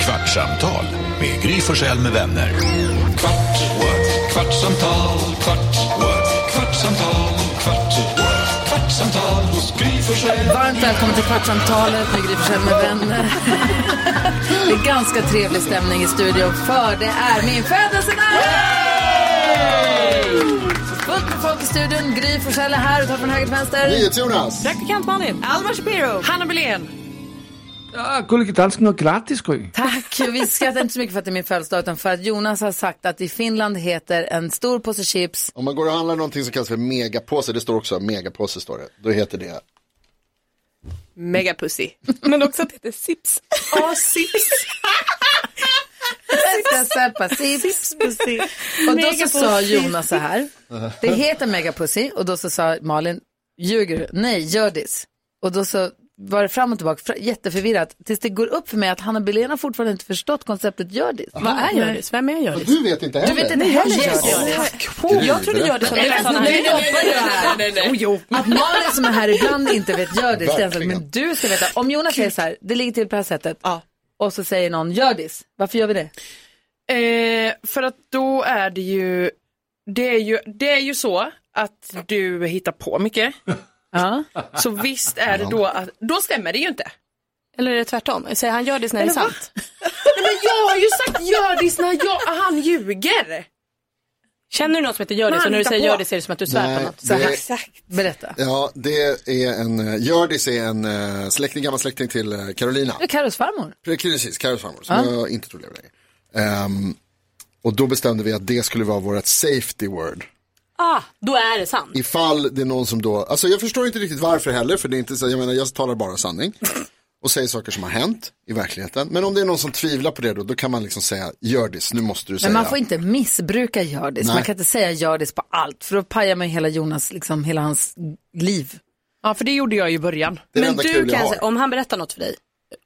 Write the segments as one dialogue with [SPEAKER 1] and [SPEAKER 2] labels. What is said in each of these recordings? [SPEAKER 1] Kvartsamtal med Gry Forssell med vänner. Kvart, what? kvartsamtal, kvart, what? kvartsamtal, kvart, what? kvartsamtal, Gry Forssell.
[SPEAKER 2] Varmt välkommen till Kvartsamtalet med Gry Forssell med vänner. Det är ganska trevlig stämning i studion för det är min födelsedag! Fullt med folk i studion. Gry Forssell är här och tar från höger till vänster.
[SPEAKER 3] Jonas.
[SPEAKER 4] Praktikant Malin. Alma Shapiro. Hanna Belén.
[SPEAKER 5] Ja, gullige dansken och grattis Gry.
[SPEAKER 2] Tack! Vi skrattar inte så mycket för att det är min födelsedag utan för att Jonas har sagt att i Finland heter en stor påse chips
[SPEAKER 3] Om man går och handlar någonting som kallas för megapåse, det står också megapåse står det. Då heter det.
[SPEAKER 4] Megapussy. Men också att det heter Sips. Ja, Sips.
[SPEAKER 2] Seppa chips. Och då så sa Jonas så här. Det heter megapussy och då så sa Malin, ljuger du? Nej, gördis. Och då så var det fram och tillbaka, fra- jätteförvirrat. Tills det går upp för mig att Hanna Belén har fortfarande inte förstått konceptet gördis.
[SPEAKER 4] Vad är Hjördis? Vem är Hjördis?
[SPEAKER 3] Du vet inte heller.
[SPEAKER 2] Du vet inte heller gördis.
[SPEAKER 4] Jag trodde Hjördis var hela sådana
[SPEAKER 2] Nej, nej,
[SPEAKER 4] här. Jo, jo.
[SPEAKER 2] Att Malin som är här ibland inte vet gördis, det är en sak.
[SPEAKER 3] Verkligen.
[SPEAKER 2] men du ska veta. Om Jonas säger så här, det ligger till på det här sättet.
[SPEAKER 4] Ja.
[SPEAKER 2] Och så säger någon gördis, varför gör vi det?
[SPEAKER 6] Eh, för att då är det ju det är, ju, det är ju så att du hittar på mycket.
[SPEAKER 2] Ja.
[SPEAKER 6] Så visst är det då att, då stämmer det ju inte.
[SPEAKER 4] Eller är det tvärtom? Säger han Hjördis när det är sant?
[SPEAKER 6] Nej, men jag har ju sagt Hjördis när jag, han ljuger.
[SPEAKER 4] Känner du någon som heter Hjördis och när du
[SPEAKER 6] Hittar
[SPEAKER 4] säger
[SPEAKER 6] på.
[SPEAKER 4] Hjördis är det som att du svär på
[SPEAKER 3] Nej,
[SPEAKER 4] något?
[SPEAKER 2] Så här,
[SPEAKER 3] det,
[SPEAKER 6] Exakt.
[SPEAKER 2] berätta.
[SPEAKER 3] ja, det är en, eh, Hjördis är en eh, släkting, gammal släkting till eh, Carolina.
[SPEAKER 2] Det är Carros farmor.
[SPEAKER 3] Precis, Carros farmor, som jag inte tror lever längre. Ehm, och då bestämde vi att det skulle vara vårt safety word.
[SPEAKER 4] Ah, då är det sant.
[SPEAKER 3] Ifall det är någon som då, alltså jag förstår inte riktigt varför heller, för det är inte så, jag menar jag talar bara sanning. Och säger saker som har hänt i verkligheten. Men om det är någon som tvivlar på det då, då kan man liksom säga, Hjördis, nu måste du säga.
[SPEAKER 2] Men man får inte missbruka gördis. Man
[SPEAKER 3] Nej.
[SPEAKER 2] kan inte säga gördis på allt för då pajar man ju hela Jonas, liksom hela hans liv.
[SPEAKER 6] Ja, för det gjorde jag ju i början.
[SPEAKER 3] Det är det
[SPEAKER 4] Men
[SPEAKER 3] enda kul
[SPEAKER 4] du
[SPEAKER 3] jag
[SPEAKER 4] kan,
[SPEAKER 3] har.
[SPEAKER 4] säga- om han berättar något för dig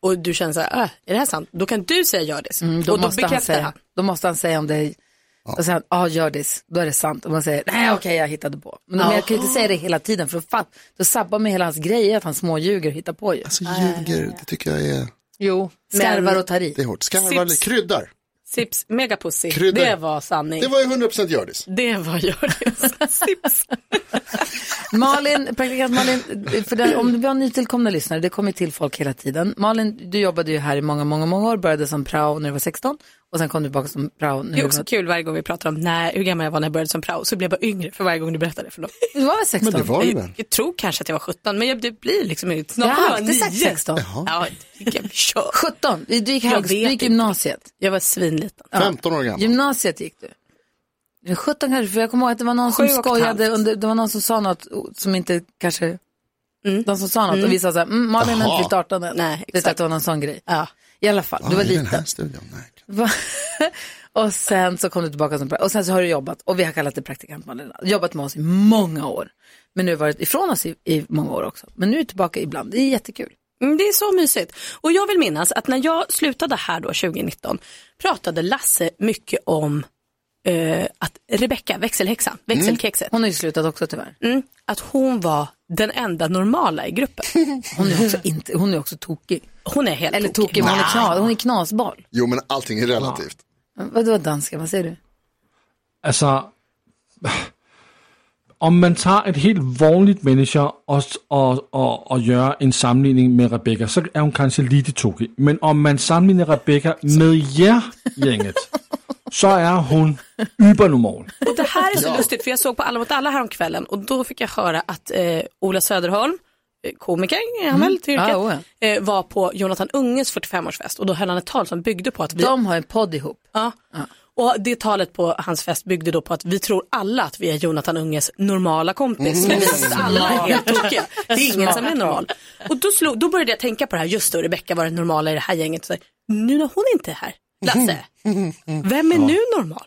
[SPEAKER 4] och du känner så här, äh, är det här sant? Då kan du säga Hjördis.
[SPEAKER 2] Mm, Då,
[SPEAKER 4] och då
[SPEAKER 2] måste han
[SPEAKER 4] bekräftar
[SPEAKER 2] säga,
[SPEAKER 4] han.
[SPEAKER 2] då måste han säga om det är, och säger han, ja gördis, då är det sant. Och man säger, nej okej jag hittade på. Men om jag kan ju inte säga det hela tiden för då, fatt, då sabbar man hela hans grej att han småljuger och hittar på ju.
[SPEAKER 3] Alltså ljuger, det tycker jag är,
[SPEAKER 2] Jo, skarvar och tar i.
[SPEAKER 3] det är hårt. Skarvar,
[SPEAKER 4] Sips.
[SPEAKER 3] kryddar.
[SPEAKER 4] Sips, megapussy.
[SPEAKER 3] Kryddor.
[SPEAKER 4] Det var sanning.
[SPEAKER 3] Det var ju 100% Hjördis.
[SPEAKER 4] Det var Hjördis. Sips.
[SPEAKER 2] Malin, praktikant Malin, för den, om vi har nytillkomna lyssnare, det kommer ju till folk hela tiden. Malin, du jobbade ju här i många, många, många år, började som prao när du var 16 och sen kom du tillbaka som prao när
[SPEAKER 4] Det
[SPEAKER 2] du
[SPEAKER 4] är
[SPEAKER 2] var
[SPEAKER 4] också kul varje gång vi pratar om när, hur gammal jag var när jag började som prao, så blev jag bara yngre för varje gång du berättade för dem.
[SPEAKER 2] Du var väl 16?
[SPEAKER 3] Men det var- Oj,
[SPEAKER 4] Jag,
[SPEAKER 3] men.
[SPEAKER 4] jag tror kanske att jag var 17, men jag, det blir liksom ut.
[SPEAKER 2] Jag
[SPEAKER 4] Snart
[SPEAKER 2] har
[SPEAKER 4] kommer jag
[SPEAKER 2] alltid
[SPEAKER 4] vara
[SPEAKER 2] sagt
[SPEAKER 4] nio.
[SPEAKER 2] 16.
[SPEAKER 4] Ja, det kan vi köra.
[SPEAKER 2] 17, du gick, högst, du
[SPEAKER 4] vet
[SPEAKER 2] gick
[SPEAKER 4] inte.
[SPEAKER 2] gymnasiet.
[SPEAKER 4] Jag var svinliten.
[SPEAKER 3] 15 år gammal.
[SPEAKER 2] Gymnasiet gick du. Men 17 kanske, för jag kommer ihåg att det var någon som
[SPEAKER 4] Sju och ett
[SPEAKER 2] skojade,
[SPEAKER 4] halvt.
[SPEAKER 2] under, det var någon som sa något som inte kanske, de som sa något och vi sa så här, mm, Malin har
[SPEAKER 3] Jaha.
[SPEAKER 2] inte fyllt 18 än.
[SPEAKER 4] Nej,
[SPEAKER 2] Du vet
[SPEAKER 4] Mm. exakt.
[SPEAKER 2] att det var någon sån grej.
[SPEAKER 4] Ja.
[SPEAKER 2] I alla fall, du var
[SPEAKER 3] I den
[SPEAKER 2] liten.
[SPEAKER 3] här studion, nej.
[SPEAKER 2] Va? och sen så kom du tillbaka som praktikant. Och sen så har du jobbat, och vi har kallat dig praktikant Malin. Jobbat med oss i många år. Men nu har du varit ifrån oss i, i många år också. Men nu är du tillbaka ibland, det är jättekul.
[SPEAKER 4] Mm, Det är så mysigt. Och jag vill minnas att när jag slutade här då 2019 pratade Lasse mycket om eh, att Rebecka, växelhäxan,
[SPEAKER 2] Mm.
[SPEAKER 4] växelkexet,
[SPEAKER 2] Hon har ju slutat också tyvärr.
[SPEAKER 4] mm. att hon var den enda normala i gruppen.
[SPEAKER 2] Hon är också, inte, hon är också tokig.
[SPEAKER 4] Hon är helt
[SPEAKER 2] Eller tokig, men hon är, knas, hon är knasboll.
[SPEAKER 3] Jo men allting är relativt.
[SPEAKER 2] Vadå danska, vad säger du?
[SPEAKER 5] Altså, om man tar ett helt vanligt människa och, och, och, och gör en sammanligning med Rebecca, så är hon kanske lite tokig. Men om man sammanligner Rebecca med jer gänget, så är hon übernormal.
[SPEAKER 4] Och det här är så
[SPEAKER 3] Ja.
[SPEAKER 4] lustigt för jag såg på Alla mot alla häromkvällen och då fick jag höra att eh, Ola Söderholm, eh, komiker är han väl till yrket,
[SPEAKER 2] Mm. Ja, o,
[SPEAKER 4] eh, var på Jonathan Unges 45-årsfest och då höll han ett tal som byggde på att vi,
[SPEAKER 2] De har en podd ihop.
[SPEAKER 4] ja, och det talet på hans fest byggde då på att vi tror alla att vi är Jonathan Unges normala kompis. Men vi är alla är helt tokiga. Det är ingen som är normal. Och då, slog, då började jag tänka på det här, just det, och Rebecka var den normala i det här gänget. Så, här, nu när hon inte är här, Lasse, vem är nu normal?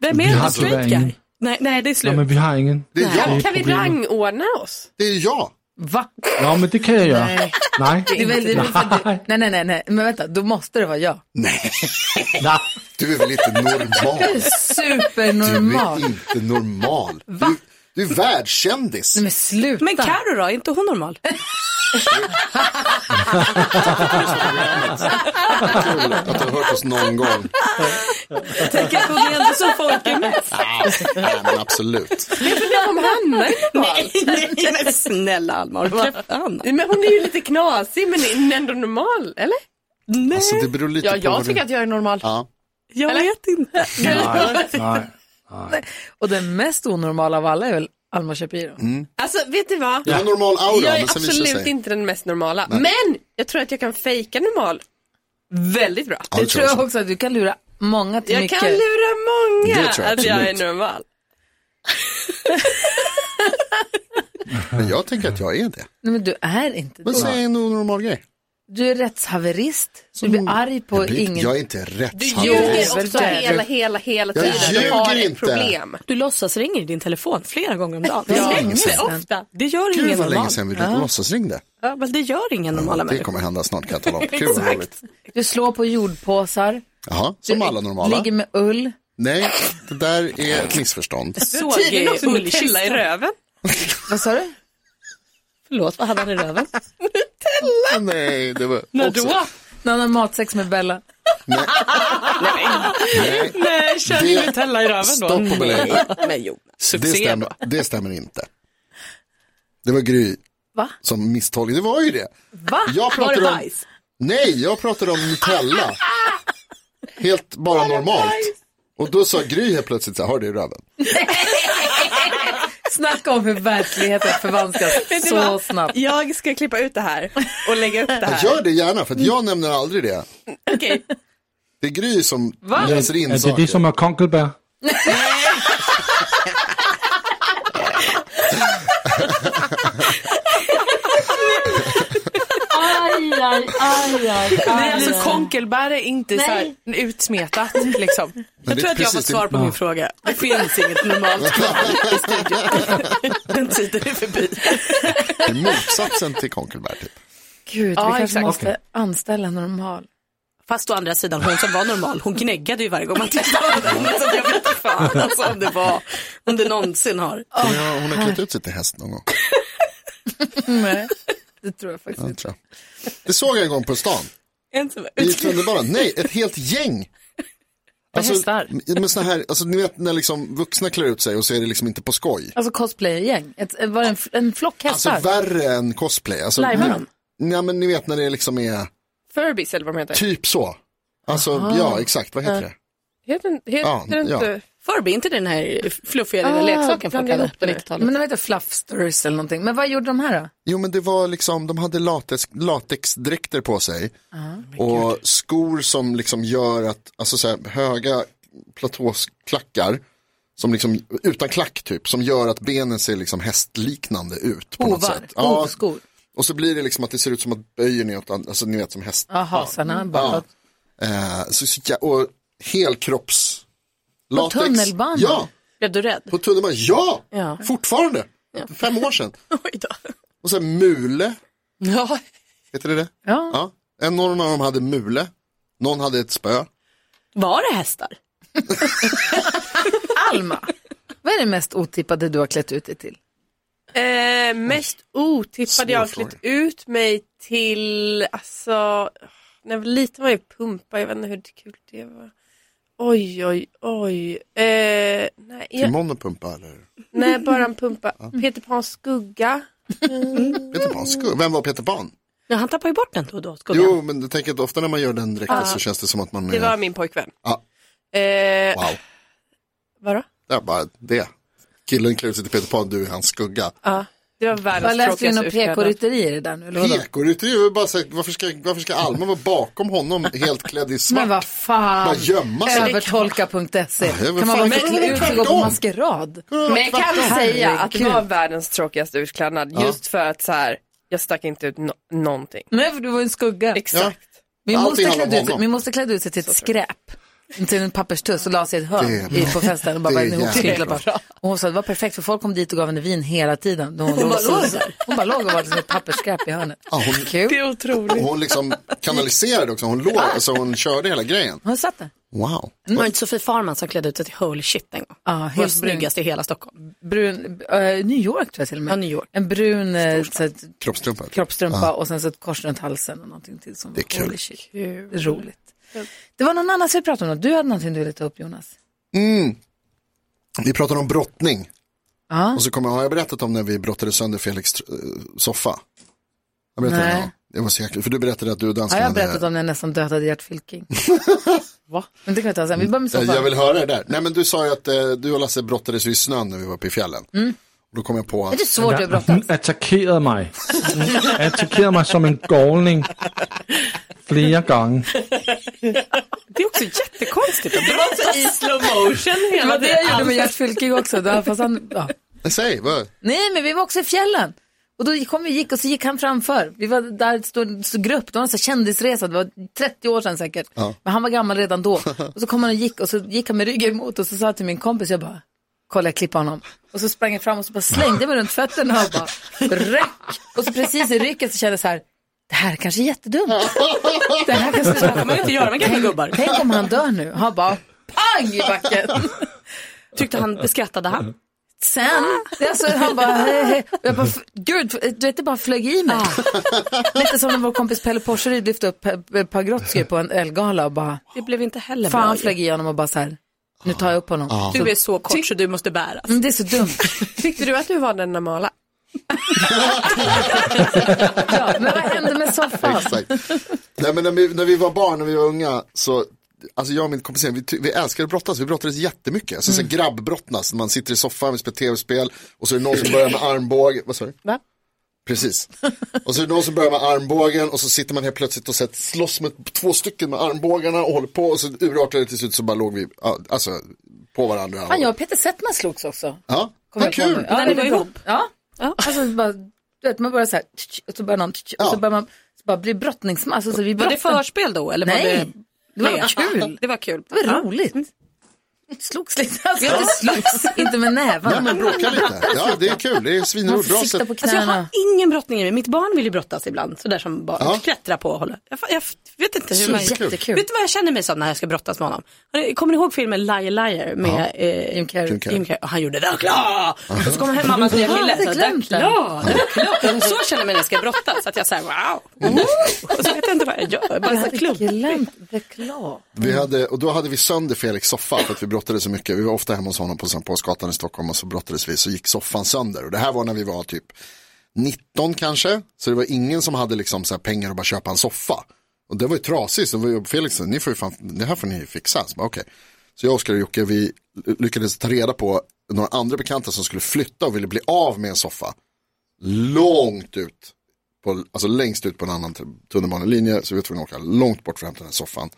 [SPEAKER 4] Vem
[SPEAKER 5] Vi
[SPEAKER 4] är
[SPEAKER 5] har
[SPEAKER 4] det straight
[SPEAKER 5] tyvärr
[SPEAKER 4] guy?
[SPEAKER 5] ingen.
[SPEAKER 4] Nej, nej, det är
[SPEAKER 5] Ja,
[SPEAKER 4] slut.
[SPEAKER 5] men vi har ingen.
[SPEAKER 3] Det är jag,
[SPEAKER 5] Kan vi rang?
[SPEAKER 3] det är jag.
[SPEAKER 2] Va?
[SPEAKER 5] Ja, men det kan jag göra.
[SPEAKER 2] Nej.
[SPEAKER 5] Nej.
[SPEAKER 2] Det är väl, det är väl för
[SPEAKER 5] Nej.
[SPEAKER 2] du, nej, nej, nej, nej, men vänta, då måste det vara jag.
[SPEAKER 3] Nej,
[SPEAKER 5] Nej.
[SPEAKER 3] du är väl inte normal. Du
[SPEAKER 2] Supernormal.
[SPEAKER 3] är inte normal. Du, du är världskändis.
[SPEAKER 2] Men sluta.
[SPEAKER 4] Men Carro då, är inte hon normal?
[SPEAKER 3] Kul att du har hört oss någon gång.
[SPEAKER 4] Tänk att hon är ändå så folkig med sig.
[SPEAKER 3] Nej, men absolut.
[SPEAKER 7] om Hanna
[SPEAKER 4] Nej, nej, men snälla Alma, vad Anna?
[SPEAKER 7] Men hon är ju lite knasig men ändå normal, eller?
[SPEAKER 4] Nej,
[SPEAKER 3] Alltså det beror lite
[SPEAKER 6] Ja,
[SPEAKER 3] på vad
[SPEAKER 6] jag
[SPEAKER 3] du...
[SPEAKER 6] tycker att jag är normal.
[SPEAKER 3] Ja.
[SPEAKER 4] jag vet inte.
[SPEAKER 5] Nej, nej.
[SPEAKER 2] Och den mest onormala av alla är väl Alma Shapiro.
[SPEAKER 3] Mm,
[SPEAKER 7] Alltså vet du vad?
[SPEAKER 3] Du har en normal aura,
[SPEAKER 7] Jag är
[SPEAKER 3] men sen visar det
[SPEAKER 7] absolut
[SPEAKER 3] sig.
[SPEAKER 7] inte den mest normala. Men jag tror att jag kan fejka normal väldigt bra.
[SPEAKER 3] Ja,
[SPEAKER 2] Det tror jag
[SPEAKER 3] också.
[SPEAKER 2] också att du kan lura många till
[SPEAKER 7] Jag
[SPEAKER 2] mycket.
[SPEAKER 7] kan lura många
[SPEAKER 3] Det tror jag
[SPEAKER 7] att jag är
[SPEAKER 3] absolut.
[SPEAKER 7] normal.
[SPEAKER 3] Men jag tänker att jag är det.
[SPEAKER 2] Nej, men du är inte
[SPEAKER 3] Men
[SPEAKER 2] det.
[SPEAKER 3] säg en onormal grej. Mm.
[SPEAKER 2] Du är rättshaverist. Du blir arg på
[SPEAKER 3] Jag, blir,
[SPEAKER 2] ingen...
[SPEAKER 3] jag är inte rätt.
[SPEAKER 7] Du
[SPEAKER 2] det
[SPEAKER 3] handlad.
[SPEAKER 2] är
[SPEAKER 7] ljuger
[SPEAKER 2] väl
[SPEAKER 7] också
[SPEAKER 2] det.
[SPEAKER 7] hela, hela, hela
[SPEAKER 3] Jag
[SPEAKER 7] tiden. Du har
[SPEAKER 3] ljuger
[SPEAKER 7] ett
[SPEAKER 3] inte.
[SPEAKER 7] problem.
[SPEAKER 4] Du låtsas ringer i din telefon flera gånger om dagen.
[SPEAKER 2] Det är länge
[SPEAKER 3] länge sedan.
[SPEAKER 2] sedan.
[SPEAKER 7] Ofta.
[SPEAKER 4] Det gör
[SPEAKER 3] Gud
[SPEAKER 4] ingen
[SPEAKER 3] vad
[SPEAKER 4] normal.
[SPEAKER 3] länge sedan vi låtsasringde.
[SPEAKER 4] Ja, men det gör ingen normala
[SPEAKER 3] Det
[SPEAKER 4] människor.
[SPEAKER 3] kommer hända snart kan jag tala om. Kul vad roligt.
[SPEAKER 2] Du slår på jordpåsar.
[SPEAKER 3] Jaha, som alla normala.
[SPEAKER 2] Ligger med ull.
[SPEAKER 3] Nej, det där är ett missförstånd.
[SPEAKER 4] Såg
[SPEAKER 7] Tydligen
[SPEAKER 4] eh,
[SPEAKER 7] också Nutella i
[SPEAKER 4] ullkistan.
[SPEAKER 7] röven.
[SPEAKER 2] Vad sa du?
[SPEAKER 4] Förlåt, vad hade han i röven?
[SPEAKER 3] Nej, det var...
[SPEAKER 4] När då?
[SPEAKER 2] När han har matsex med Bella.
[SPEAKER 3] Nej,
[SPEAKER 6] Nej, kör ni
[SPEAKER 3] Det-
[SPEAKER 6] Nutella i röven då?
[SPEAKER 3] stopp på belägg.
[SPEAKER 4] Men jo.
[SPEAKER 3] Det
[SPEAKER 6] Succé då.
[SPEAKER 3] stämmer, det stämmer inte. Det var Gry
[SPEAKER 2] Va?
[SPEAKER 3] som misstolkade, det var ju det.
[SPEAKER 2] Va?
[SPEAKER 3] Jag pratar
[SPEAKER 2] var det
[SPEAKER 3] om-
[SPEAKER 2] bajs?
[SPEAKER 3] Nej, jag pratade om Nutella. Helt bara normalt. Och då sa Gry helt plötsligt så här, har du det i röven?
[SPEAKER 2] Snacka om hur verkligheten förvanskas så snabbt.
[SPEAKER 7] Jag ska klippa ut det här och lägga upp det
[SPEAKER 3] Jag
[SPEAKER 7] här.
[SPEAKER 3] gör det gärna, för att jag nämner aldrig det.
[SPEAKER 7] Okej.
[SPEAKER 3] Det är Gry som läser in
[SPEAKER 5] Er det
[SPEAKER 3] saker.
[SPEAKER 5] det, som er Konkelberg?
[SPEAKER 8] Aj, aj, aj, aj.
[SPEAKER 6] Nej, alltså konkelbär är inte så här utsmetat liksom.
[SPEAKER 3] Men
[SPEAKER 4] Jag
[SPEAKER 3] det är
[SPEAKER 4] tror att jag
[SPEAKER 3] precis
[SPEAKER 4] har fått
[SPEAKER 3] det-
[SPEAKER 4] svar på min fråga. Det finns inget normalt kvar i studion. Den tiden är förbi.
[SPEAKER 3] Det är motsatsen till Konkelberg typ.
[SPEAKER 2] Gud, vi
[SPEAKER 6] Ja,
[SPEAKER 2] kanske
[SPEAKER 6] exakt.
[SPEAKER 2] måste anställa en normal.
[SPEAKER 4] Fast å andra sidan, hon som var normal, hon gnäggade ju varje gång man tittade på henne. Så jag vet inte fan alltså, om det var, om det någonsin har.
[SPEAKER 3] Hon har- hon har klätt ut sig till häst någon gång.
[SPEAKER 6] Mm.
[SPEAKER 2] Nej, det tror jag faktiskt
[SPEAKER 3] Ja, Det,
[SPEAKER 2] inte.
[SPEAKER 3] tror jag. det såg jag en gång på stan.
[SPEAKER 4] En som
[SPEAKER 3] I tunnelbanan. Nej, ett helt gäng. Alltså,
[SPEAKER 6] hästar?
[SPEAKER 3] men såna här, alltså, ni vet när liksom vuxna klär ut sig och så är det liksom inte på skoj.
[SPEAKER 2] Alltså cosplaygäng. Ett- Var det en, en flock
[SPEAKER 3] Alltså
[SPEAKER 2] hästar?
[SPEAKER 3] värre än cosplay. Alltså,
[SPEAKER 2] Lajvar
[SPEAKER 3] ni-
[SPEAKER 2] de?
[SPEAKER 3] Nej men ni vet när det liksom är
[SPEAKER 7] Furbies eller vad de heter.
[SPEAKER 3] typ så. Alltså ja exakt, vad heter det?
[SPEAKER 7] Heter,
[SPEAKER 3] Ja,
[SPEAKER 7] heter
[SPEAKER 3] ja.
[SPEAKER 7] inte...
[SPEAKER 4] Furby, inte den här fluffiga lilla leksaken folk
[SPEAKER 7] blanda
[SPEAKER 4] hade
[SPEAKER 7] Ah, ihop
[SPEAKER 4] på
[SPEAKER 7] det nu.
[SPEAKER 4] 90-talet?
[SPEAKER 2] Men de heter fluffsters eller någonting. Men vad gjorde de här då?
[SPEAKER 3] Jo men det var liksom, de hade latex, latexdräkter på sig.
[SPEAKER 2] Ah,
[SPEAKER 3] Och skor som liksom gör att, alltså så här, höga platåsklackar. Som liksom, utan klack typ, som gör att benen ser liksom hästliknande ut. På något
[SPEAKER 2] Hovar?
[SPEAKER 3] sätt. Ja,
[SPEAKER 2] Hovskor?
[SPEAKER 3] och så blir det liksom att det ser ut som att böjer neråt, alltså ni vet som häst.
[SPEAKER 2] Ja, hasarna
[SPEAKER 3] Ja.
[SPEAKER 2] bakåt.
[SPEAKER 3] Eh, så, så- ja, och helkropps. Latex.
[SPEAKER 2] tunnelbanan?
[SPEAKER 3] Ja,
[SPEAKER 4] Blev du rädd?
[SPEAKER 3] på tunnelbanan. Ja,
[SPEAKER 4] Ja.
[SPEAKER 3] fortfarande. Fem år sedan.
[SPEAKER 4] Oj då.
[SPEAKER 3] Och sen mule,
[SPEAKER 4] Ja,
[SPEAKER 3] heter det det?
[SPEAKER 2] Ja.
[SPEAKER 3] Ja. En, någon av dem hade mule, någon hade ett spö.
[SPEAKER 4] var det hästar?
[SPEAKER 2] Alma, vad är det mest otippade du har klätt ut dig till?
[SPEAKER 7] Eh, mest otippade jag har
[SPEAKER 3] Svår fråga.
[SPEAKER 7] klätt ut mig till, alltså, när jag var liten var jag pumpa, jag vet inte hur kul det var. Oj, oj, oj. Eh, nej, jag,
[SPEAKER 3] Timon och Pumpa eller?
[SPEAKER 7] nej, bara en pumpa. Peter Pans skugga.
[SPEAKER 3] Peter Pan. Sku- Vem var Peter Pan?
[SPEAKER 4] Ja, han tappar ju bort den då och då, skuggan.
[SPEAKER 3] Jo, men jag tänker att ofta när man gör den dräkten så känns det som att man
[SPEAKER 7] Det
[SPEAKER 3] är...
[SPEAKER 7] var min pojkvän.
[SPEAKER 3] Ja.
[SPEAKER 7] Eh,
[SPEAKER 3] Wow,
[SPEAKER 7] Vadå?
[SPEAKER 3] det är bara det. Killen klär ut sig till Peter Pan, du är hans skugga.
[SPEAKER 7] Det var världens
[SPEAKER 2] Vad läste du
[SPEAKER 7] tråkigaste
[SPEAKER 2] inom
[SPEAKER 7] utklädnad.
[SPEAKER 2] PK-rytterier där nu? Eller vadå?
[SPEAKER 3] Pekorute, jag vill bara säga, varför ska, varför ska Alma vara bakom honom helt klädd i svart?
[SPEAKER 2] Men vad fan.
[SPEAKER 3] Bara gömma sig.
[SPEAKER 2] Övertolka.se.
[SPEAKER 3] det
[SPEAKER 2] E.
[SPEAKER 3] är väl
[SPEAKER 2] Kan man
[SPEAKER 3] fan-
[SPEAKER 2] bara klä
[SPEAKER 3] Men-
[SPEAKER 2] ut sig och gå på
[SPEAKER 3] tvärtom.
[SPEAKER 2] maskerad?
[SPEAKER 7] Men jag kan säga att det
[SPEAKER 2] Herregud.
[SPEAKER 7] var världens tråkigaste utklädnad just för att så här, jag stack inte ut no- någonting.
[SPEAKER 2] Nej, för du var en skugga.
[SPEAKER 3] Ja,
[SPEAKER 7] Exakt.
[SPEAKER 2] Vi
[SPEAKER 3] Allting
[SPEAKER 2] måste,
[SPEAKER 3] handlar
[SPEAKER 2] klädda
[SPEAKER 3] om
[SPEAKER 2] ut,
[SPEAKER 3] honom.
[SPEAKER 2] vi måste klädda ut sig till ett skräp. Till en papperstuss och la sig i ett hörn
[SPEAKER 3] Det är
[SPEAKER 2] i- på festen och bara
[SPEAKER 3] Det
[SPEAKER 2] var
[SPEAKER 3] är
[SPEAKER 2] ihopkrylad.
[SPEAKER 3] jävligt
[SPEAKER 2] bara. Och hon sa det var perfekt för folk kom dit och gav henne vin hela tiden. Hon, hon,
[SPEAKER 4] bara
[SPEAKER 2] så-
[SPEAKER 4] låg där.
[SPEAKER 2] hon bara låg och var som ett pappersskräp i hörnet.
[SPEAKER 3] Ja, hon,
[SPEAKER 2] Kul.
[SPEAKER 6] Det är otroligt.
[SPEAKER 3] hon liksom kanaliserade också, hon låg, alltså hon körde hela grejen.
[SPEAKER 2] Hon satt där.
[SPEAKER 3] Wow.
[SPEAKER 4] Det var inte Sofie Farman som klädde ut sig till Holy Shit en gång.
[SPEAKER 2] Ja,
[SPEAKER 4] Hon var
[SPEAKER 2] helt brun.
[SPEAKER 4] snyggast i hela Stockholm.
[SPEAKER 2] brun eh, New York tror jag till och med.
[SPEAKER 4] Ja, New York.
[SPEAKER 2] En brun eh, så här,
[SPEAKER 3] Kroppstrumpor.
[SPEAKER 2] kroppstrumpa och sen så ett kors runt halsen och någonting till som
[SPEAKER 3] Det är kul.
[SPEAKER 2] holy shit. Det är roligt. Det var någon annan som vi pratade om. Du hade någonting du ville ta upp Jonas.
[SPEAKER 3] Mm. Vi pratade om brottning.
[SPEAKER 2] Ja.
[SPEAKER 3] Och så kommer jag, har jag berättat om när vi brottade sönder Felix eh, soffa? Jag berättade
[SPEAKER 2] Nej.
[SPEAKER 3] det, ja. Det var så jäkla, för du berättade att du och
[SPEAKER 2] Ja,
[SPEAKER 3] danskarna
[SPEAKER 2] jag har berättat
[SPEAKER 3] hade-
[SPEAKER 2] om när jag nästan dödade Gert Fylking. Va? Men det kan vi ta sen. Vi börjar med
[SPEAKER 3] Eh, Jag
[SPEAKER 2] soffan.
[SPEAKER 3] vill höra det där. Nej men du sa ju att eh, du och Lasse brottades ju i snön när vi var uppe i fjällen. Och då kom jag på
[SPEAKER 2] Det
[SPEAKER 3] att,
[SPEAKER 2] Mm. är svårt att brottas.
[SPEAKER 5] Hun attackerede mig. Hun attackerede mig som en galning flere gange.
[SPEAKER 6] Det är också jättekonstigt.
[SPEAKER 4] Det var så i slow motion
[SPEAKER 2] Det var det jag gjorde med Gert Fylking också. Där, fast han, ja.
[SPEAKER 3] nej säg, vad?
[SPEAKER 2] Nej, men vi var också i fjällen. Och då kom vi gick och så gick han framför. Vi var där i en stor, stor grupp, det var en sån här kändisresa, det var 30 år sedan säkert. Men han var gammal redan då. Och så kom han och gick och så gick han med ryggen emot och så sa jag till min kompis, jag bara, kolla jag klipper honom. Och så sprang jag fram och så bara slängde mig runt fötterna och bara ryck. Och så precis i rycket så kände jag så här, det här kanske är jättedumt. Det här kanske
[SPEAKER 4] Så kan man ju inte göra med gamla gubbar.
[SPEAKER 2] Tänk om han dör nu. Han bara, pang i backen.
[SPEAKER 4] Tyckte han, skrattade han?
[SPEAKER 2] Sen, alltså, han bara, hej, hej. Och Jag bara, gud, du vet det bara flög i mig. Lite som när vår kompis Pelle Porseryd lyfte upp Pe- Pagrotsky på en ölgala och bara,
[SPEAKER 4] Det blev inte heller
[SPEAKER 2] fan
[SPEAKER 4] bra.
[SPEAKER 2] han flög i honom och bara så här, nu tar jag upp honom.
[SPEAKER 4] Du är så kort så du måste bäras.
[SPEAKER 2] Mm, det är så dumt.
[SPEAKER 7] Tyckte du att du var den normala?
[SPEAKER 2] Ja, men vad hände med soffan?
[SPEAKER 3] Exakt. Nej, men när, vi, när vi var barn, när vi var unga, så, alltså jag och min kompis, vi, ty- vi älskade att brottas, vi brottades jättemycket. Alltså, så här grabbbrottnas, man sitter i soffan, vi spelar tv-spel och så är det någon som börjar med armbågen, vad sa du?
[SPEAKER 7] Va?
[SPEAKER 3] Precis. Och så är det någon som börjar med armbågen och så sitter man helt plötsligt och så här, slåss med två stycken med armbågarna och håller på och så urartade det till slut så bara låg vi, ja, alltså, på varandra.
[SPEAKER 2] Fan, jag och Peter Settman slogs också.
[SPEAKER 3] Ja,
[SPEAKER 2] Kommer
[SPEAKER 3] vad
[SPEAKER 2] jag på nu.
[SPEAKER 3] kul.
[SPEAKER 2] Ja, det
[SPEAKER 4] ni var
[SPEAKER 2] bra.
[SPEAKER 4] ihop?
[SPEAKER 2] Ja. Alltså, bara, du vet, man börjar så här, tch, tch, och så börjar någon, tch, tch, och så
[SPEAKER 3] Ja.
[SPEAKER 2] börjar man, så bara blir brottningsmatch. Alltså, vi
[SPEAKER 4] Var det
[SPEAKER 2] brottas-
[SPEAKER 4] förspel då? Eller var
[SPEAKER 2] Nej,
[SPEAKER 4] det...
[SPEAKER 2] det var kul.
[SPEAKER 4] Det var kul.
[SPEAKER 2] Det var roligt. Slogs lite. Alltså, inte slogs, inte med
[SPEAKER 3] Ja,
[SPEAKER 2] nävarna.
[SPEAKER 3] men bråka lite. Ja, det är kul, det är
[SPEAKER 2] Man
[SPEAKER 3] svinroligt.
[SPEAKER 2] får
[SPEAKER 3] Bra
[SPEAKER 2] sitta
[SPEAKER 3] sätt.
[SPEAKER 2] på
[SPEAKER 4] Alltså jag har
[SPEAKER 2] knäna.
[SPEAKER 4] ingen brottning i mig. Mitt barn vill ju brottas ibland. Sådär som barn.
[SPEAKER 3] Ja.
[SPEAKER 4] Klättra på och hålla. Jag, fa- jag f- vet inte hur man...
[SPEAKER 3] Superkul.
[SPEAKER 2] Jättekul.
[SPEAKER 4] Vet du vad jag känner mig som när jag ska brottas med honom? Har ni- Kommer ni ihåg filmen Liar Liar med eh,
[SPEAKER 2] Jim Carrey.
[SPEAKER 3] Jim Carrey.
[SPEAKER 4] Jim Carrey? Och han gjorde det klar! Och så kommer hem mammas nya
[SPEAKER 2] Ja, jag
[SPEAKER 4] kille.
[SPEAKER 2] hade
[SPEAKER 4] så,
[SPEAKER 2] glömt
[SPEAKER 4] "Där
[SPEAKER 2] den."
[SPEAKER 4] klar, där klar. Så känner jag mig när jag ska brottas. Så Att jag säger wow.
[SPEAKER 2] Mm.
[SPEAKER 4] Och så vet jag inte vad jag gör. Jag är Bara så klump.
[SPEAKER 2] Glömt the claw.
[SPEAKER 3] Vi hade, och då hade vi sönder Felix soffa för att vi brottades så mycket. Vi var ofta hemma hos honom på Sankt Paulsgatan i Stockholm och så brottades vi så gick soffan sönder. Och det här var när vi var typ 19 kanske. Så det var ingen som hade liksom så här pengar att bara köpa en soffa. Och det var ju trasigt. Så det var ju Felix, ni får ju fan, det här får ni fixa. Så, bara, okej. så jag, Oskar och Jocke, vi lyckades ta reda på några andra bekanta som skulle flytta och ville bli av med en soffa. Långt ut, på, alltså längst ut på en annan t- tunnelbanelinje. Så vi var tvungna att åka långt bort för att hämta den här soffan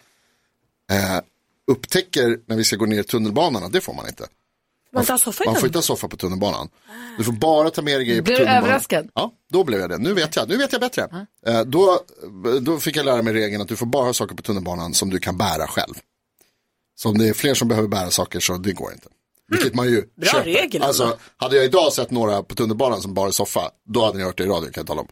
[SPEAKER 3] eh, upptäcker när vi ska gå ner i tunnelbanan att det får man inte.
[SPEAKER 4] Man tar soffa
[SPEAKER 3] Man får
[SPEAKER 4] innan.
[SPEAKER 3] inte ha soffa på tunnelbanan. Du får bara ta med dig grejer på
[SPEAKER 2] Blir du
[SPEAKER 3] tunnelbanan.
[SPEAKER 2] överraskad?
[SPEAKER 3] Ja, då blev jag det. Nu vet jag, nu vet jag bättre. Eh, då, då fick jag lära mig regeln att du får bara ha saker på tunnelbanan som du kan bära själv. Så om det är fler som behöver bära saker så det går inte. Vilket man ju
[SPEAKER 4] Mm. Bra
[SPEAKER 3] köper.
[SPEAKER 4] regel,
[SPEAKER 3] Alltså,
[SPEAKER 4] ändå.
[SPEAKER 3] hade jag idag sett några på tunnelbanan som bara soffa, då hade ni hört det i radio, kan jag tala om.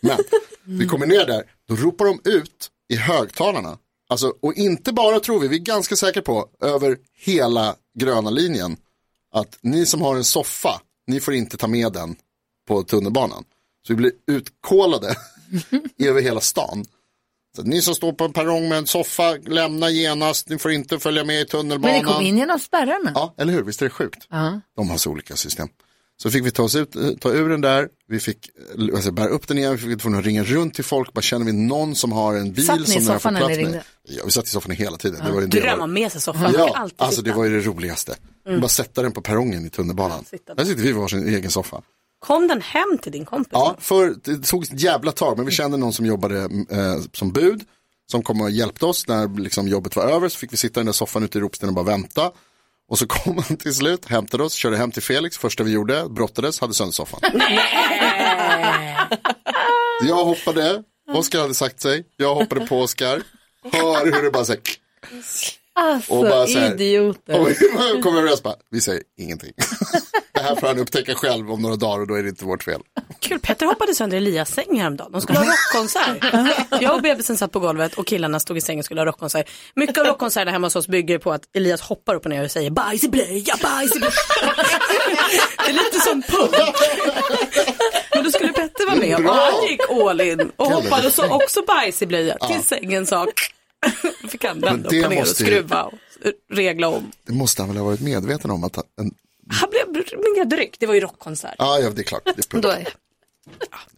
[SPEAKER 3] Men vi kommer ner där, då ropar de ut i högtalarna. Alltså, och inte bara tror vi, vi är ganska säkra på, över hela gröna linjen, att ni som har en soffa, ni får inte ta med den på tunnelbanan. Så vi blir utkålade över hela stan. Så att ni som står på en perrong med en soffa, lämna genast, ni får inte följa med i
[SPEAKER 2] Men
[SPEAKER 3] tunnelbanan.
[SPEAKER 2] ni kom in genom spärrarna.
[SPEAKER 3] Ja, eller hur? Visst är det sjukt? De har så olika system. Så fick vi ta, oss ut, eh, ta ur den där, vi fick eh, alltså, bära upp den igen, vi fick tvungna att ringa runt till folk, bara känner vi någon som har en bil
[SPEAKER 2] Satt ni i
[SPEAKER 3] som den här får
[SPEAKER 2] soffan när
[SPEAKER 3] plats
[SPEAKER 2] ni
[SPEAKER 3] med?
[SPEAKER 2] ringde?
[SPEAKER 3] Ja, vi satt i soffan hela tiden. Det var ju en del av-
[SPEAKER 4] Drömma med sig soffan. Man kan
[SPEAKER 3] Ja,
[SPEAKER 4] alltid
[SPEAKER 3] alltså det
[SPEAKER 4] sitta. Mm.
[SPEAKER 3] var ju det roligaste. Bara sätta den på perrongen i tunnelbanan.
[SPEAKER 4] sitta där.
[SPEAKER 3] Där sitter vi i varsin egen soffa.
[SPEAKER 4] Kom den hem till din kompis?
[SPEAKER 3] Ja, för det tog ett jävla tag, men vi kände någon som jobbade eh, som bud, som kom och hjälpte oss när liksom, jobbet var över, så fick vi sitta i den där soffan ute i Ropsten och bara vänta. Och så kom han till slut, hämtade oss, körde hem till Felix, första vi gjorde, brottades, hade sönder soffan. jag hoppade, Oskar hade sagt sig, jag hoppade på Oskar, hör hur det bara så här,
[SPEAKER 2] Alltså,
[SPEAKER 3] Och bara så här-
[SPEAKER 2] idioter.
[SPEAKER 3] Och vi kommer överens bara, vi säger ingenting. Det här får han upptäcka själv om några dagar och då är det inte vårt fel.
[SPEAKER 4] Kul, Petter hoppade sönder Elias säng häromdagen. De skulle ha rockkonsert. Jag och bebisen satt på golvet och killarna stod i sängen och skulle ha rockkonsert. Mycket av rockkonserterna hemma hos oss bygger på att Elias hoppar upp och ner och säger bajs i blöja, bajs i blöja. Det är lite som punk. Men då skulle Petter vara med och han gick all in och hoppade och så också bajs i blöja tills sängen sa Då fick han
[SPEAKER 3] Men
[SPEAKER 4] vända
[SPEAKER 3] det
[SPEAKER 4] upp och ner och
[SPEAKER 3] måste ju-
[SPEAKER 4] skruva och regla om.
[SPEAKER 3] Det måste han väl ha varit medveten om att han, en,
[SPEAKER 4] Han blev medryckt, det var ju rockkonsert.
[SPEAKER 3] ah, ja det är klart, det, är punk.
[SPEAKER 2] Då är...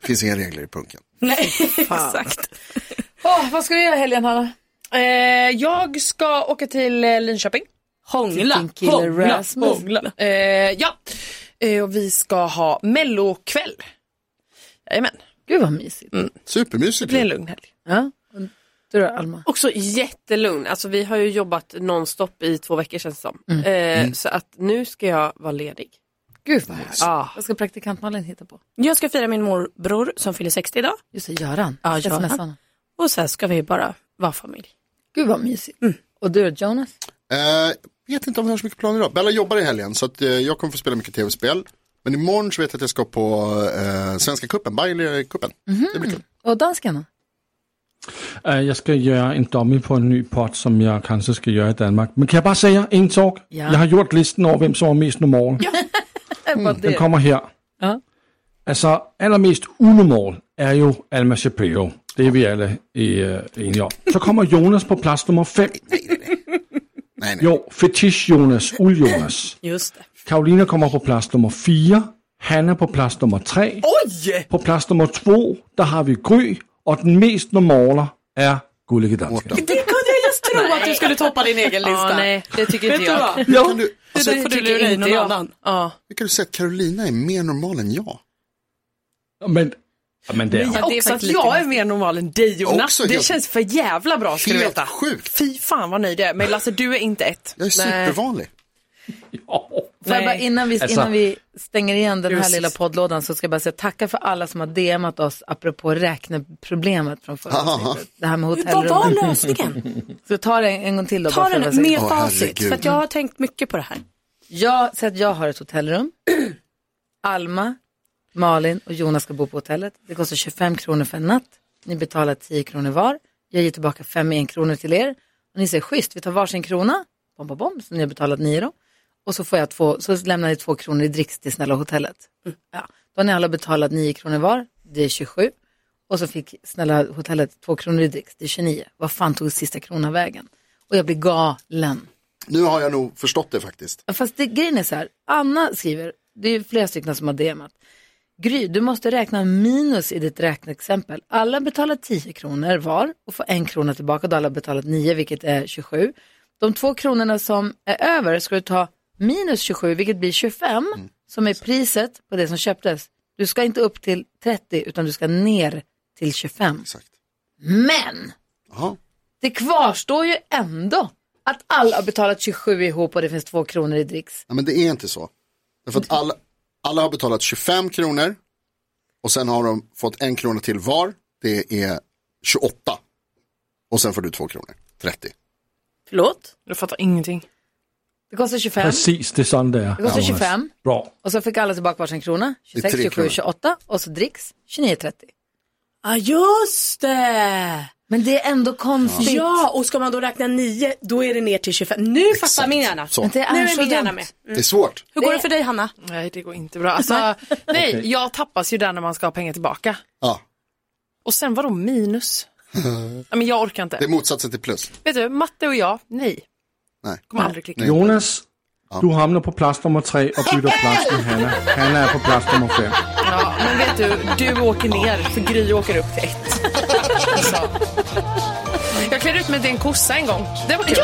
[SPEAKER 3] det finns inga regler i punken.
[SPEAKER 4] Nej, exakt.
[SPEAKER 2] Åh, vad ska du göra i helgen, Hanna?
[SPEAKER 6] Eh, jag ska åka till eh, Linköping.
[SPEAKER 4] Hångla,
[SPEAKER 2] Vilken kille
[SPEAKER 4] hångla,
[SPEAKER 2] Rasmus.
[SPEAKER 4] hångla.
[SPEAKER 6] Eh, ja, eh, och vi ska ha mellokväll. Jajamän,
[SPEAKER 2] Gud vad mysigt.
[SPEAKER 3] Supermysigt.
[SPEAKER 6] det blir en lugn helg.
[SPEAKER 2] Ja. och Du då, Alma?
[SPEAKER 7] Också jättelugn. Alltså vi har ju jobbat nonstop i två veckor känns det som.
[SPEAKER 3] Mm.
[SPEAKER 7] Eh, Så att nu ska jag vara ledig.
[SPEAKER 2] Gud vad härligt.
[SPEAKER 7] Ah.
[SPEAKER 2] Vad ska praktikant Malin hitta på?
[SPEAKER 4] Jag ska fira min morbror som fyller 60 idag
[SPEAKER 2] Just det, Göran.
[SPEAKER 4] Ja, Göran.
[SPEAKER 2] SMS -arna.
[SPEAKER 4] och sen ska vi bara vara familj.
[SPEAKER 2] Gud vad mysigt. Mm. Och du då, Jonas?
[SPEAKER 3] Eh, vet inte om vi har så mycket planer idag. Bella jobbar i helgen så att, eh, jag kommer få spela mycket tv-spel. Men imorgon så vet jag att jag ska på eh, Svenska cupen, Bayer-cupen.
[SPEAKER 6] Mm.
[SPEAKER 3] Det blir kul.
[SPEAKER 2] Och dansken då?
[SPEAKER 5] Øh, Jeg skal gøre en dummy på en ny pot, som jeg kanskje skal gøre i Danmark. Men kan jeg bare sige en talk?
[SPEAKER 2] Ja.
[SPEAKER 5] Jeg har gjort listen over, hvem som var mest normal.
[SPEAKER 2] Mm.
[SPEAKER 5] Den kommer her.
[SPEAKER 2] Ja.
[SPEAKER 5] Altså, allermest unormal er jo Alma Shapiro. Det er vi alle øh, enige om. Så kommer Jonas på plads nummer 5.
[SPEAKER 3] Nej, nej.
[SPEAKER 5] Jo, fetish Jonas, ul Jonas.
[SPEAKER 4] Just det.
[SPEAKER 5] Karolina kommer på plads nummer 4. Hanna på plads nummer 3.
[SPEAKER 6] Oj!
[SPEAKER 5] På plads nummer 2, der har vi Gry. Og den mest normale er Gullige Danske.
[SPEAKER 4] Det kunde jag just tro att du skulle toppa din egen lista.
[SPEAKER 7] Ah, nej, det tycker
[SPEAKER 4] Vet
[SPEAKER 7] inte
[SPEAKER 4] du
[SPEAKER 7] jag.
[SPEAKER 4] vad?
[SPEAKER 3] Hur kan du, alltså,
[SPEAKER 4] Det får du lura i någon annan.
[SPEAKER 7] Ja.
[SPEAKER 3] hur kan du säga att Carolina är mer normal än jag?
[SPEAKER 5] Men, men det er hun.
[SPEAKER 4] Ja, det är
[SPEAKER 6] Också att
[SPEAKER 4] faktiskt lite
[SPEAKER 6] jag är mer normal än dig Jonas.
[SPEAKER 3] Också
[SPEAKER 6] det
[SPEAKER 3] helt-
[SPEAKER 6] känns för jävla bra ska du
[SPEAKER 3] Helt
[SPEAKER 6] veta.
[SPEAKER 3] sjukt.
[SPEAKER 6] Fy fan vad nöjd jag är. Men Lasse du är inte ett.
[SPEAKER 3] Jag är supervanlig.
[SPEAKER 2] Får jag
[SPEAKER 6] Nej.
[SPEAKER 2] bara, innan, vi,
[SPEAKER 5] Alltså-
[SPEAKER 2] innan vi stänger igen den här
[SPEAKER 6] Just.
[SPEAKER 2] lilla poddlådan så ska jag bara säga tacka för alla som har DMat oss apropå räkneproblemet från förra
[SPEAKER 3] Aha.
[SPEAKER 2] avsnittet. Det här med
[SPEAKER 4] Vad var
[SPEAKER 2] hotellrum.
[SPEAKER 4] lösningen?
[SPEAKER 2] Ska vi ta det en, en gång till då?
[SPEAKER 4] Ta
[SPEAKER 2] bara för att vara
[SPEAKER 4] den
[SPEAKER 2] säker?
[SPEAKER 4] med
[SPEAKER 3] Åh,
[SPEAKER 4] facit,
[SPEAKER 3] herregud.
[SPEAKER 4] för att jag har tänkt mycket på det här.
[SPEAKER 2] Jag, så att jag har ett hotellrum. Alma, Malin och Jonas ska bo på hotellet. Det kostar 25 kronor för en natt. Ni betalar 10 kronor var. Jag ger tillbaka 5 en kronor till er. Och ni säger schysst, vi tar varsin krona. Bom, bom, bom. Så ni har betalat 9 då. Och så, får jag två, så lämnar ni 2 kronor i dricks till Snälla hotellet.
[SPEAKER 4] Mm.
[SPEAKER 2] Ja. Då har ni alla betalat 9 kronor var. Det är 27. Och så fick Snälla hotellet 2 kronor i dricks. Det är 29. Vad fan tog sista kronan vägen? Och jag blir galen.
[SPEAKER 3] Nu har jag nog förstått det faktiskt.
[SPEAKER 2] Ja, Fast det, grejen är så här, Anna skriver, det är ju flera stycken som har DMat. Gry, du måste räkna minus i ditt räkneexempel. Alla betalar 10 kronor var och får en krona tillbaka. Då alla har betalat 9, vilket är 27. De två kronorna som är över ska du ta minus 27, vilket blir 25, som är priset på det som köptes. Du ska inte upp till 30, utan du ska ner till 25.
[SPEAKER 3] Exakt.
[SPEAKER 2] Men!
[SPEAKER 3] Jaha.
[SPEAKER 2] Det kvarstår ju ändå att alla har betalat 27 ihop och det finns två kronor i dricks.
[SPEAKER 3] Ja, men det är inte så. Därför att alla, alla har betalat 25 kronor och sen har de fått en krona till var. Det är 28. Og sen får du två kronor. 30.
[SPEAKER 4] Förlåt?
[SPEAKER 6] Jag fattar ingenting.
[SPEAKER 2] Det kostar 25.
[SPEAKER 5] Præcis, det er sådan, det er.
[SPEAKER 2] Det kostar 25
[SPEAKER 5] Bra.
[SPEAKER 2] och så fick alla tillbaka varsin krona.
[SPEAKER 3] är tre
[SPEAKER 2] 26, 27,
[SPEAKER 3] kronor.
[SPEAKER 2] 28 och så dricks 29,30.
[SPEAKER 4] Ja, ah, just det!
[SPEAKER 2] Men det är ändå konstigt.
[SPEAKER 4] Ja, och ska man då räkna nio, då är det ner till 25. Nu fattar min hjärna.
[SPEAKER 3] Så.
[SPEAKER 2] Men det är
[SPEAKER 4] Nu
[SPEAKER 2] så
[SPEAKER 4] är min hjärna
[SPEAKER 2] dumt.
[SPEAKER 4] med.
[SPEAKER 3] Det är svårt.
[SPEAKER 4] Ah, Hur går det för dig, Hanna?
[SPEAKER 6] Nej det går inte bra. Alltså, nej, jag tappas ju där när man ska ha pengar tillbaka.
[SPEAKER 3] Ja,
[SPEAKER 6] Och sen vadå minus? Nej, men jag orkar inte.
[SPEAKER 3] det är motsatsen till plus.
[SPEAKER 6] Vet du, matte og jeg, nej.
[SPEAKER 3] Nej.
[SPEAKER 6] Kommer aldrig klicka.
[SPEAKER 5] Jonas, du hamner på plads nummer 3 og bytter plads med Hanna. Hanna er på plads nummer 5.
[SPEAKER 6] Ja, men vet du, du åker ner för Gry åker upp till ett. Alltså. Jag klädde ut mig till en kossa en gång. Det var kul.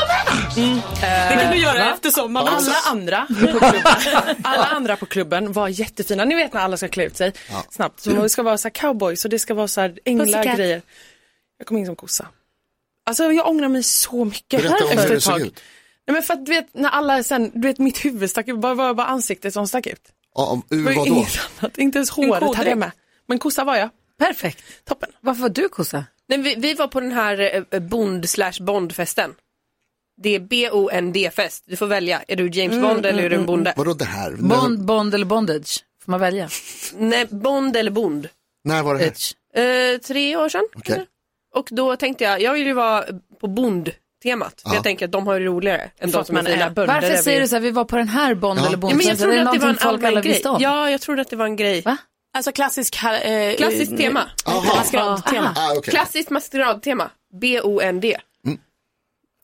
[SPEAKER 6] Mm. Eh,
[SPEAKER 4] Det kan du göra efter sommaren
[SPEAKER 6] Alla andra, på klubben, alla andra på klubben var jättefina. Ni vet när alla ska klä ut sig snabbt. Så det ska vara så här cowboys och det ska vara så här
[SPEAKER 4] Pussycat.
[SPEAKER 6] änglagrejer. Jag kom in som kossa. Alltså jag ångrar mig så mycket
[SPEAKER 3] Berätta om hur
[SPEAKER 6] efter
[SPEAKER 3] det
[SPEAKER 6] ett
[SPEAKER 3] såg
[SPEAKER 6] tag.
[SPEAKER 3] ut.
[SPEAKER 6] Nej men för att du vet när alla sen, du vet mitt huvud stack ut, bara, bara, bara ansiktet som stack ut.
[SPEAKER 3] Ja, om-
[SPEAKER 6] Det var
[SPEAKER 3] ur
[SPEAKER 6] ju
[SPEAKER 3] vad då?
[SPEAKER 6] inget annat, inte ens
[SPEAKER 4] En
[SPEAKER 6] håret hade
[SPEAKER 4] kodräkt.
[SPEAKER 6] jag med. Men kossa var jag,
[SPEAKER 2] Perfekt.
[SPEAKER 6] toppen.
[SPEAKER 2] Varför var du kossa?
[SPEAKER 7] Nej, vi, vi var på den här eh, bond slash eh, bondfesten. Det är B-O-N-D-fest. Du får välja. Är du James
[SPEAKER 6] Mm,
[SPEAKER 7] Bond eller är du en bonde?
[SPEAKER 3] Vadå det här?
[SPEAKER 2] Bond, bond eller bondage? Får man välja?
[SPEAKER 6] mm.
[SPEAKER 7] Nej, Bond eller Bond.
[SPEAKER 3] När, när var det här?
[SPEAKER 2] Edge.
[SPEAKER 7] Eh, tre år sedan.
[SPEAKER 3] Okej.
[SPEAKER 7] kanske. Och då tänkte jag, jag vill ju vara på bondtemat. För jag tänker att de har det roligare än de som är fina.
[SPEAKER 2] Varför säger du så här, vi var på den här Bond eller
[SPEAKER 7] Ja,
[SPEAKER 2] bondage? Alltså,
[SPEAKER 7] men jag
[SPEAKER 2] det
[SPEAKER 7] trodde
[SPEAKER 2] är
[SPEAKER 7] att det var
[SPEAKER 2] någonting folk
[SPEAKER 7] en
[SPEAKER 2] alla
[SPEAKER 7] allmän grej.
[SPEAKER 2] visste om.
[SPEAKER 7] Ja, jag trodde att det var en grej.
[SPEAKER 2] Va?
[SPEAKER 4] Alltså klassisk... här- Eh,
[SPEAKER 7] Klassiskt
[SPEAKER 6] Mm.
[SPEAKER 4] eh,
[SPEAKER 7] tema.
[SPEAKER 3] Aha.
[SPEAKER 4] Maskeradtema.
[SPEAKER 3] Ah, okej.
[SPEAKER 7] Klassiskt maskeradtema. B-O-N-D.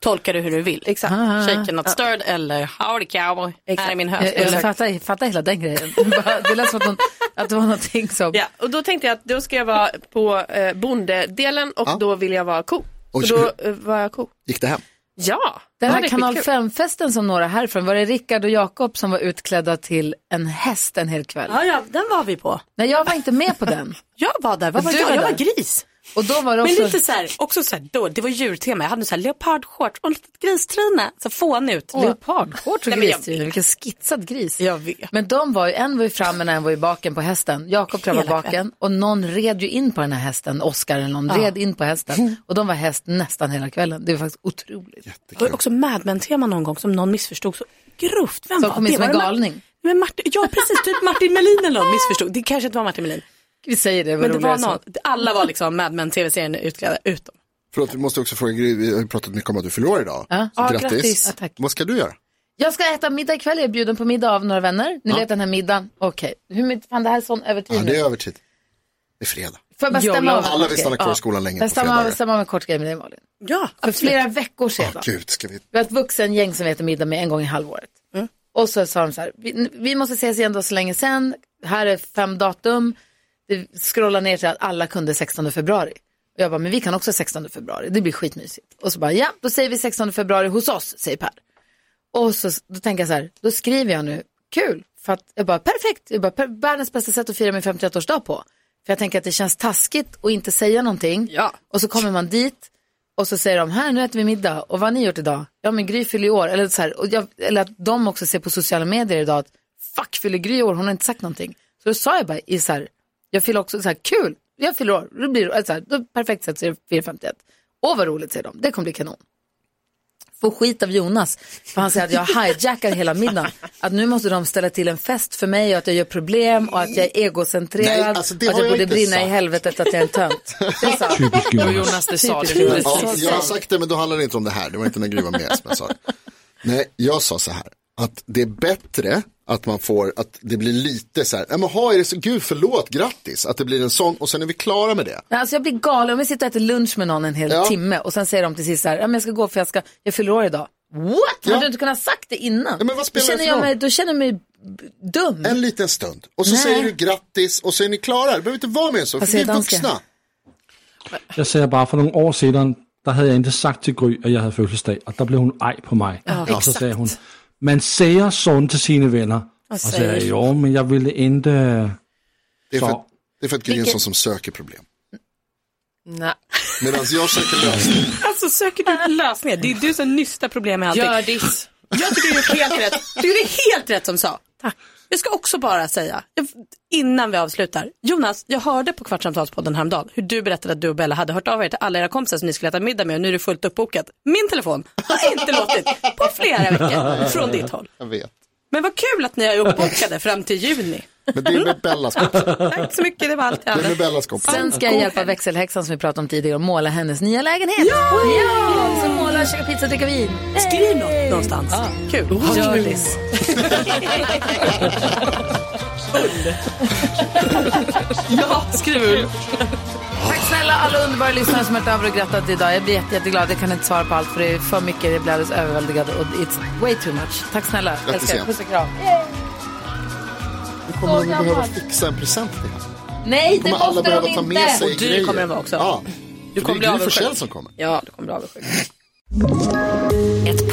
[SPEAKER 4] Tolkar du hur du vill.
[SPEAKER 7] Exakt.
[SPEAKER 2] Ah.
[SPEAKER 4] Shaken not stirred eller howdy cowboy. Här är min höst.
[SPEAKER 2] Jag, jag
[SPEAKER 4] Eller,
[SPEAKER 2] fattar, fattar hela den grejen. Bara, det lät som att, någon, att det var någonting som...
[SPEAKER 7] Ja, och då tänkte jag att då ska jag vara på eh, bondedelen och
[SPEAKER 3] Ja.
[SPEAKER 7] då vill jag vara ko.
[SPEAKER 3] Oj,
[SPEAKER 7] så då eh, var jag ko.
[SPEAKER 3] Gick det hem?
[SPEAKER 7] Ja,
[SPEAKER 2] Den
[SPEAKER 7] ja,
[SPEAKER 2] här
[SPEAKER 7] det är
[SPEAKER 2] kanal
[SPEAKER 7] skitkul.
[SPEAKER 2] 5-festen som några härifrån, var det Rickard och Jakob som var utklädda till en häst en hel kväll?
[SPEAKER 4] ja, ja, den var vi på.
[SPEAKER 2] Nej, jag var inte med på den.
[SPEAKER 4] Jag var där. Vad var
[SPEAKER 2] Du
[SPEAKER 4] jag?
[SPEAKER 2] var
[SPEAKER 4] jag var
[SPEAKER 2] där.
[SPEAKER 4] gris.
[SPEAKER 2] Och då var det
[SPEAKER 4] Men
[SPEAKER 2] också...
[SPEAKER 4] lite så här, också så här, då, det var djurtema. Jag hade så här leopardshorts och lite gristrina. Så fånig ut.
[SPEAKER 2] Leopardshorts och
[SPEAKER 4] Nej, men jag
[SPEAKER 2] grisdjur, vilken skitsad gris.
[SPEAKER 4] Jag vet.
[SPEAKER 2] Men de var ju, en var ju framme när en var i baken på hästen. Jakob tror jag var
[SPEAKER 4] Hela
[SPEAKER 2] baken och någon red ju in på den här hästen, Oskar eller någon, red in på hästen. Och de var häst nästan hela kvällen. Det var faktiskt otroligt.
[SPEAKER 4] Det var också Mad Men-tema någon gång som någon missförstod så grovt. Vem
[SPEAKER 2] Som
[SPEAKER 4] var
[SPEAKER 2] kom in
[SPEAKER 4] det?
[SPEAKER 2] som en
[SPEAKER 4] Var det Mar-
[SPEAKER 2] galning.
[SPEAKER 4] Men Martin, ja, precis. Typ Martin Melin eller någon missförstod. Det kanske inte var Martin Melin.
[SPEAKER 2] Vi säger det, vad
[SPEAKER 4] Men det var
[SPEAKER 2] roligare så.
[SPEAKER 4] någon, alla var liksom Mad Men-tv-serien utklädda utom.
[SPEAKER 3] Förlåt, vi måste också fråga Gry, vi har ju pratat mycket om att du förlorar idag.
[SPEAKER 2] Ja.
[SPEAKER 3] Så
[SPEAKER 2] Ja,
[SPEAKER 3] grattis.
[SPEAKER 2] grattis. Ja, tack.
[SPEAKER 3] Vad ska du göra?
[SPEAKER 2] Jag ska äta middag ikväll, jag är bjuden på middag av några vänner. Ni vet den här middagen, okej. Hur mycket, fan det här är sån övertid
[SPEAKER 3] Ja,
[SPEAKER 2] nu.
[SPEAKER 3] det är övertid. Det är fredag.
[SPEAKER 2] Får jag bara stämma av?
[SPEAKER 3] Alla vill stanna kvar i
[SPEAKER 2] Ja.
[SPEAKER 3] skolan länge på
[SPEAKER 2] Jag stämmer av,
[SPEAKER 3] fredagar.
[SPEAKER 2] stämmer av en kort grej med dig Malin.
[SPEAKER 4] Ja,
[SPEAKER 2] För flera veckor sedan.
[SPEAKER 3] Åh, Gud, ska vi...
[SPEAKER 2] Vi har ett vuxengäng som vi äter middag med en gång i halvåret. Och så sa de så här, vi, vi måste ses igen då så länge sen, här är fem datum. Det scrollar ner till att alla kunde 16 februari. Och jag bara, men vi kan också 16 februari, det blir skitmysigt. Och så bara, ja, då säger vi 16 februari hos oss, säger Per. Och så då tänker jag så här, då skriver jag nu, kul, för att jag bara, perfekt, jag bara, per, världens bästa sätt att fira min 51-årsdag på. För jag tänker att det känns taskigt att inte säga någonting.
[SPEAKER 4] Ja.
[SPEAKER 2] Och så kommer man dit och så säger de, här nu äter vi middag och vad har ni gjort idag? Ja men Gry fyller i år, eller, så här, och jag, eller att de också ser på sociala medier idag att fuck fyller Gry i år, hon har inte sagt någonting. Så då sa jag bara i så här, jag fyller också så här, kul, jag fyller år, det blir eller så här, då, perfekt sätt så är det 451. Åh vad roligt säger de, det kommer bli kanon får skit av Jonas. För han säger att jag hijackar hela middagen. Att nu måste de ställa till en fest för mig och att jag gör problem och att jag är egocentrerad.
[SPEAKER 3] Nej, alltså det
[SPEAKER 2] och att
[SPEAKER 3] har
[SPEAKER 2] jag
[SPEAKER 3] jag
[SPEAKER 2] borde
[SPEAKER 3] inte
[SPEAKER 2] brinna
[SPEAKER 3] sagt.
[SPEAKER 2] i helvetet att jag är en tönt. Det sa han.
[SPEAKER 5] Typiskt Jonas.
[SPEAKER 6] Jonas, det sa
[SPEAKER 2] Typiskt
[SPEAKER 6] du.
[SPEAKER 2] Jonas.
[SPEAKER 3] Ja,
[SPEAKER 2] Precis.
[SPEAKER 3] jag har sagt det, men då handlar det inte om det här. Det var inte när Gry var med som jag sa det. Nej, jag sa så här, att det är bättre att man får, att det blir lite så här, nej men ha er det så, gud förlåt, grattis, att det blir en sån och sen är vi klara med det.
[SPEAKER 2] Men Alltså jag blir galen om jag sitter och äter lunch med någon en hel
[SPEAKER 3] Ja.
[SPEAKER 2] timme och sen säger de till sist så här, ja, men jag ska gå för jag, ska, jag fyller år idag. What? Hade
[SPEAKER 3] Ja.
[SPEAKER 2] du inte kunnat sagt det innan?
[SPEAKER 3] Ja, men vad
[SPEAKER 2] då,
[SPEAKER 3] spelar det
[SPEAKER 2] känner
[SPEAKER 3] för
[SPEAKER 2] jag
[SPEAKER 3] roll?
[SPEAKER 2] mig, då känner jag mig b- dum.
[SPEAKER 3] En liten stund och så
[SPEAKER 2] Nej.
[SPEAKER 3] säger du grattis och så är ni klara, det behöver inte vara mer än så, för
[SPEAKER 2] Vad
[SPEAKER 3] vi
[SPEAKER 2] säger
[SPEAKER 3] är
[SPEAKER 2] danska?
[SPEAKER 3] vuxna.
[SPEAKER 5] Jeg sagde bare for nogle år siden, der havde jeg ikke sagt til Gry, at jeg havde fødselsdag, og der blev hun ej på mig. og så sagde hun, man siger sådan til sine venner. Og så sagde jeg, jo, men jeg ville
[SPEAKER 3] Det
[SPEAKER 5] ikke...
[SPEAKER 3] är för,
[SPEAKER 5] Så.
[SPEAKER 3] att- det är för att Gry är en sån som söker problem.
[SPEAKER 6] Nej.
[SPEAKER 3] Medan jag söker lösning.
[SPEAKER 4] Alltså söker du lösningar? Det är du som nystar problem med allting.
[SPEAKER 6] Gör ditt.
[SPEAKER 4] Jag tycker du är helt rätt. Du är helt rätt som sa. Tack. Jag ska också bara säga, jag- innan vi avslutar. Jonas, jag hörde på Kvartsamtalspodden häromdagen hur du berättade att du och Bella hade hört av er till alla era kompisar som ni skulle äta middag med och nu är det fullt uppbokat. Min telefon har inte låtit på flera veckor från ditt håll.
[SPEAKER 3] Jag vet.
[SPEAKER 4] Men vad kul att ni är uppbokade fram till juni.
[SPEAKER 3] Men det är med Bellas kompisar.
[SPEAKER 4] Tack så mycket, det var allt jag
[SPEAKER 3] Det är
[SPEAKER 4] hade.
[SPEAKER 3] med Bellas kompisar.
[SPEAKER 2] Sen ska jag hjälpa växelhäxan som vi pratade om tidigare och måla hennes nya lägenhet. Ja! ja! Så måla, käka pizza, dricka vin.
[SPEAKER 4] Skriv något någonstans. Kul.
[SPEAKER 2] Hjördis.
[SPEAKER 4] Ja, skriv ur.
[SPEAKER 2] Tack snälla alla underbara lyssnare som har hört av er och grattat idag. Jag blir jätte, jätteglad. Jag kan inte svara på allt för det är för mycket. Jag blir alldeles överväldigad och it's way too much. Tack snälla.
[SPEAKER 3] Grattis
[SPEAKER 2] Älskar er.
[SPEAKER 3] igen.
[SPEAKER 2] Puss och kram.
[SPEAKER 3] Vi kommer nog behöva fixa en present till henne.
[SPEAKER 2] Nej, det
[SPEAKER 3] kommer alla
[SPEAKER 2] måste
[SPEAKER 3] behöva
[SPEAKER 2] de
[SPEAKER 3] ta med
[SPEAKER 2] inte.
[SPEAKER 3] sig
[SPEAKER 4] Och dyr
[SPEAKER 3] grejer.
[SPEAKER 4] kommer den vara också.
[SPEAKER 3] Ja. Du
[SPEAKER 4] kommer
[SPEAKER 3] kommer det är Gry
[SPEAKER 4] bli avundsjuk.
[SPEAKER 3] Forssell som kommer.
[SPEAKER 4] Ja, du kommer bli avundsjuk.
[SPEAKER 9] Ett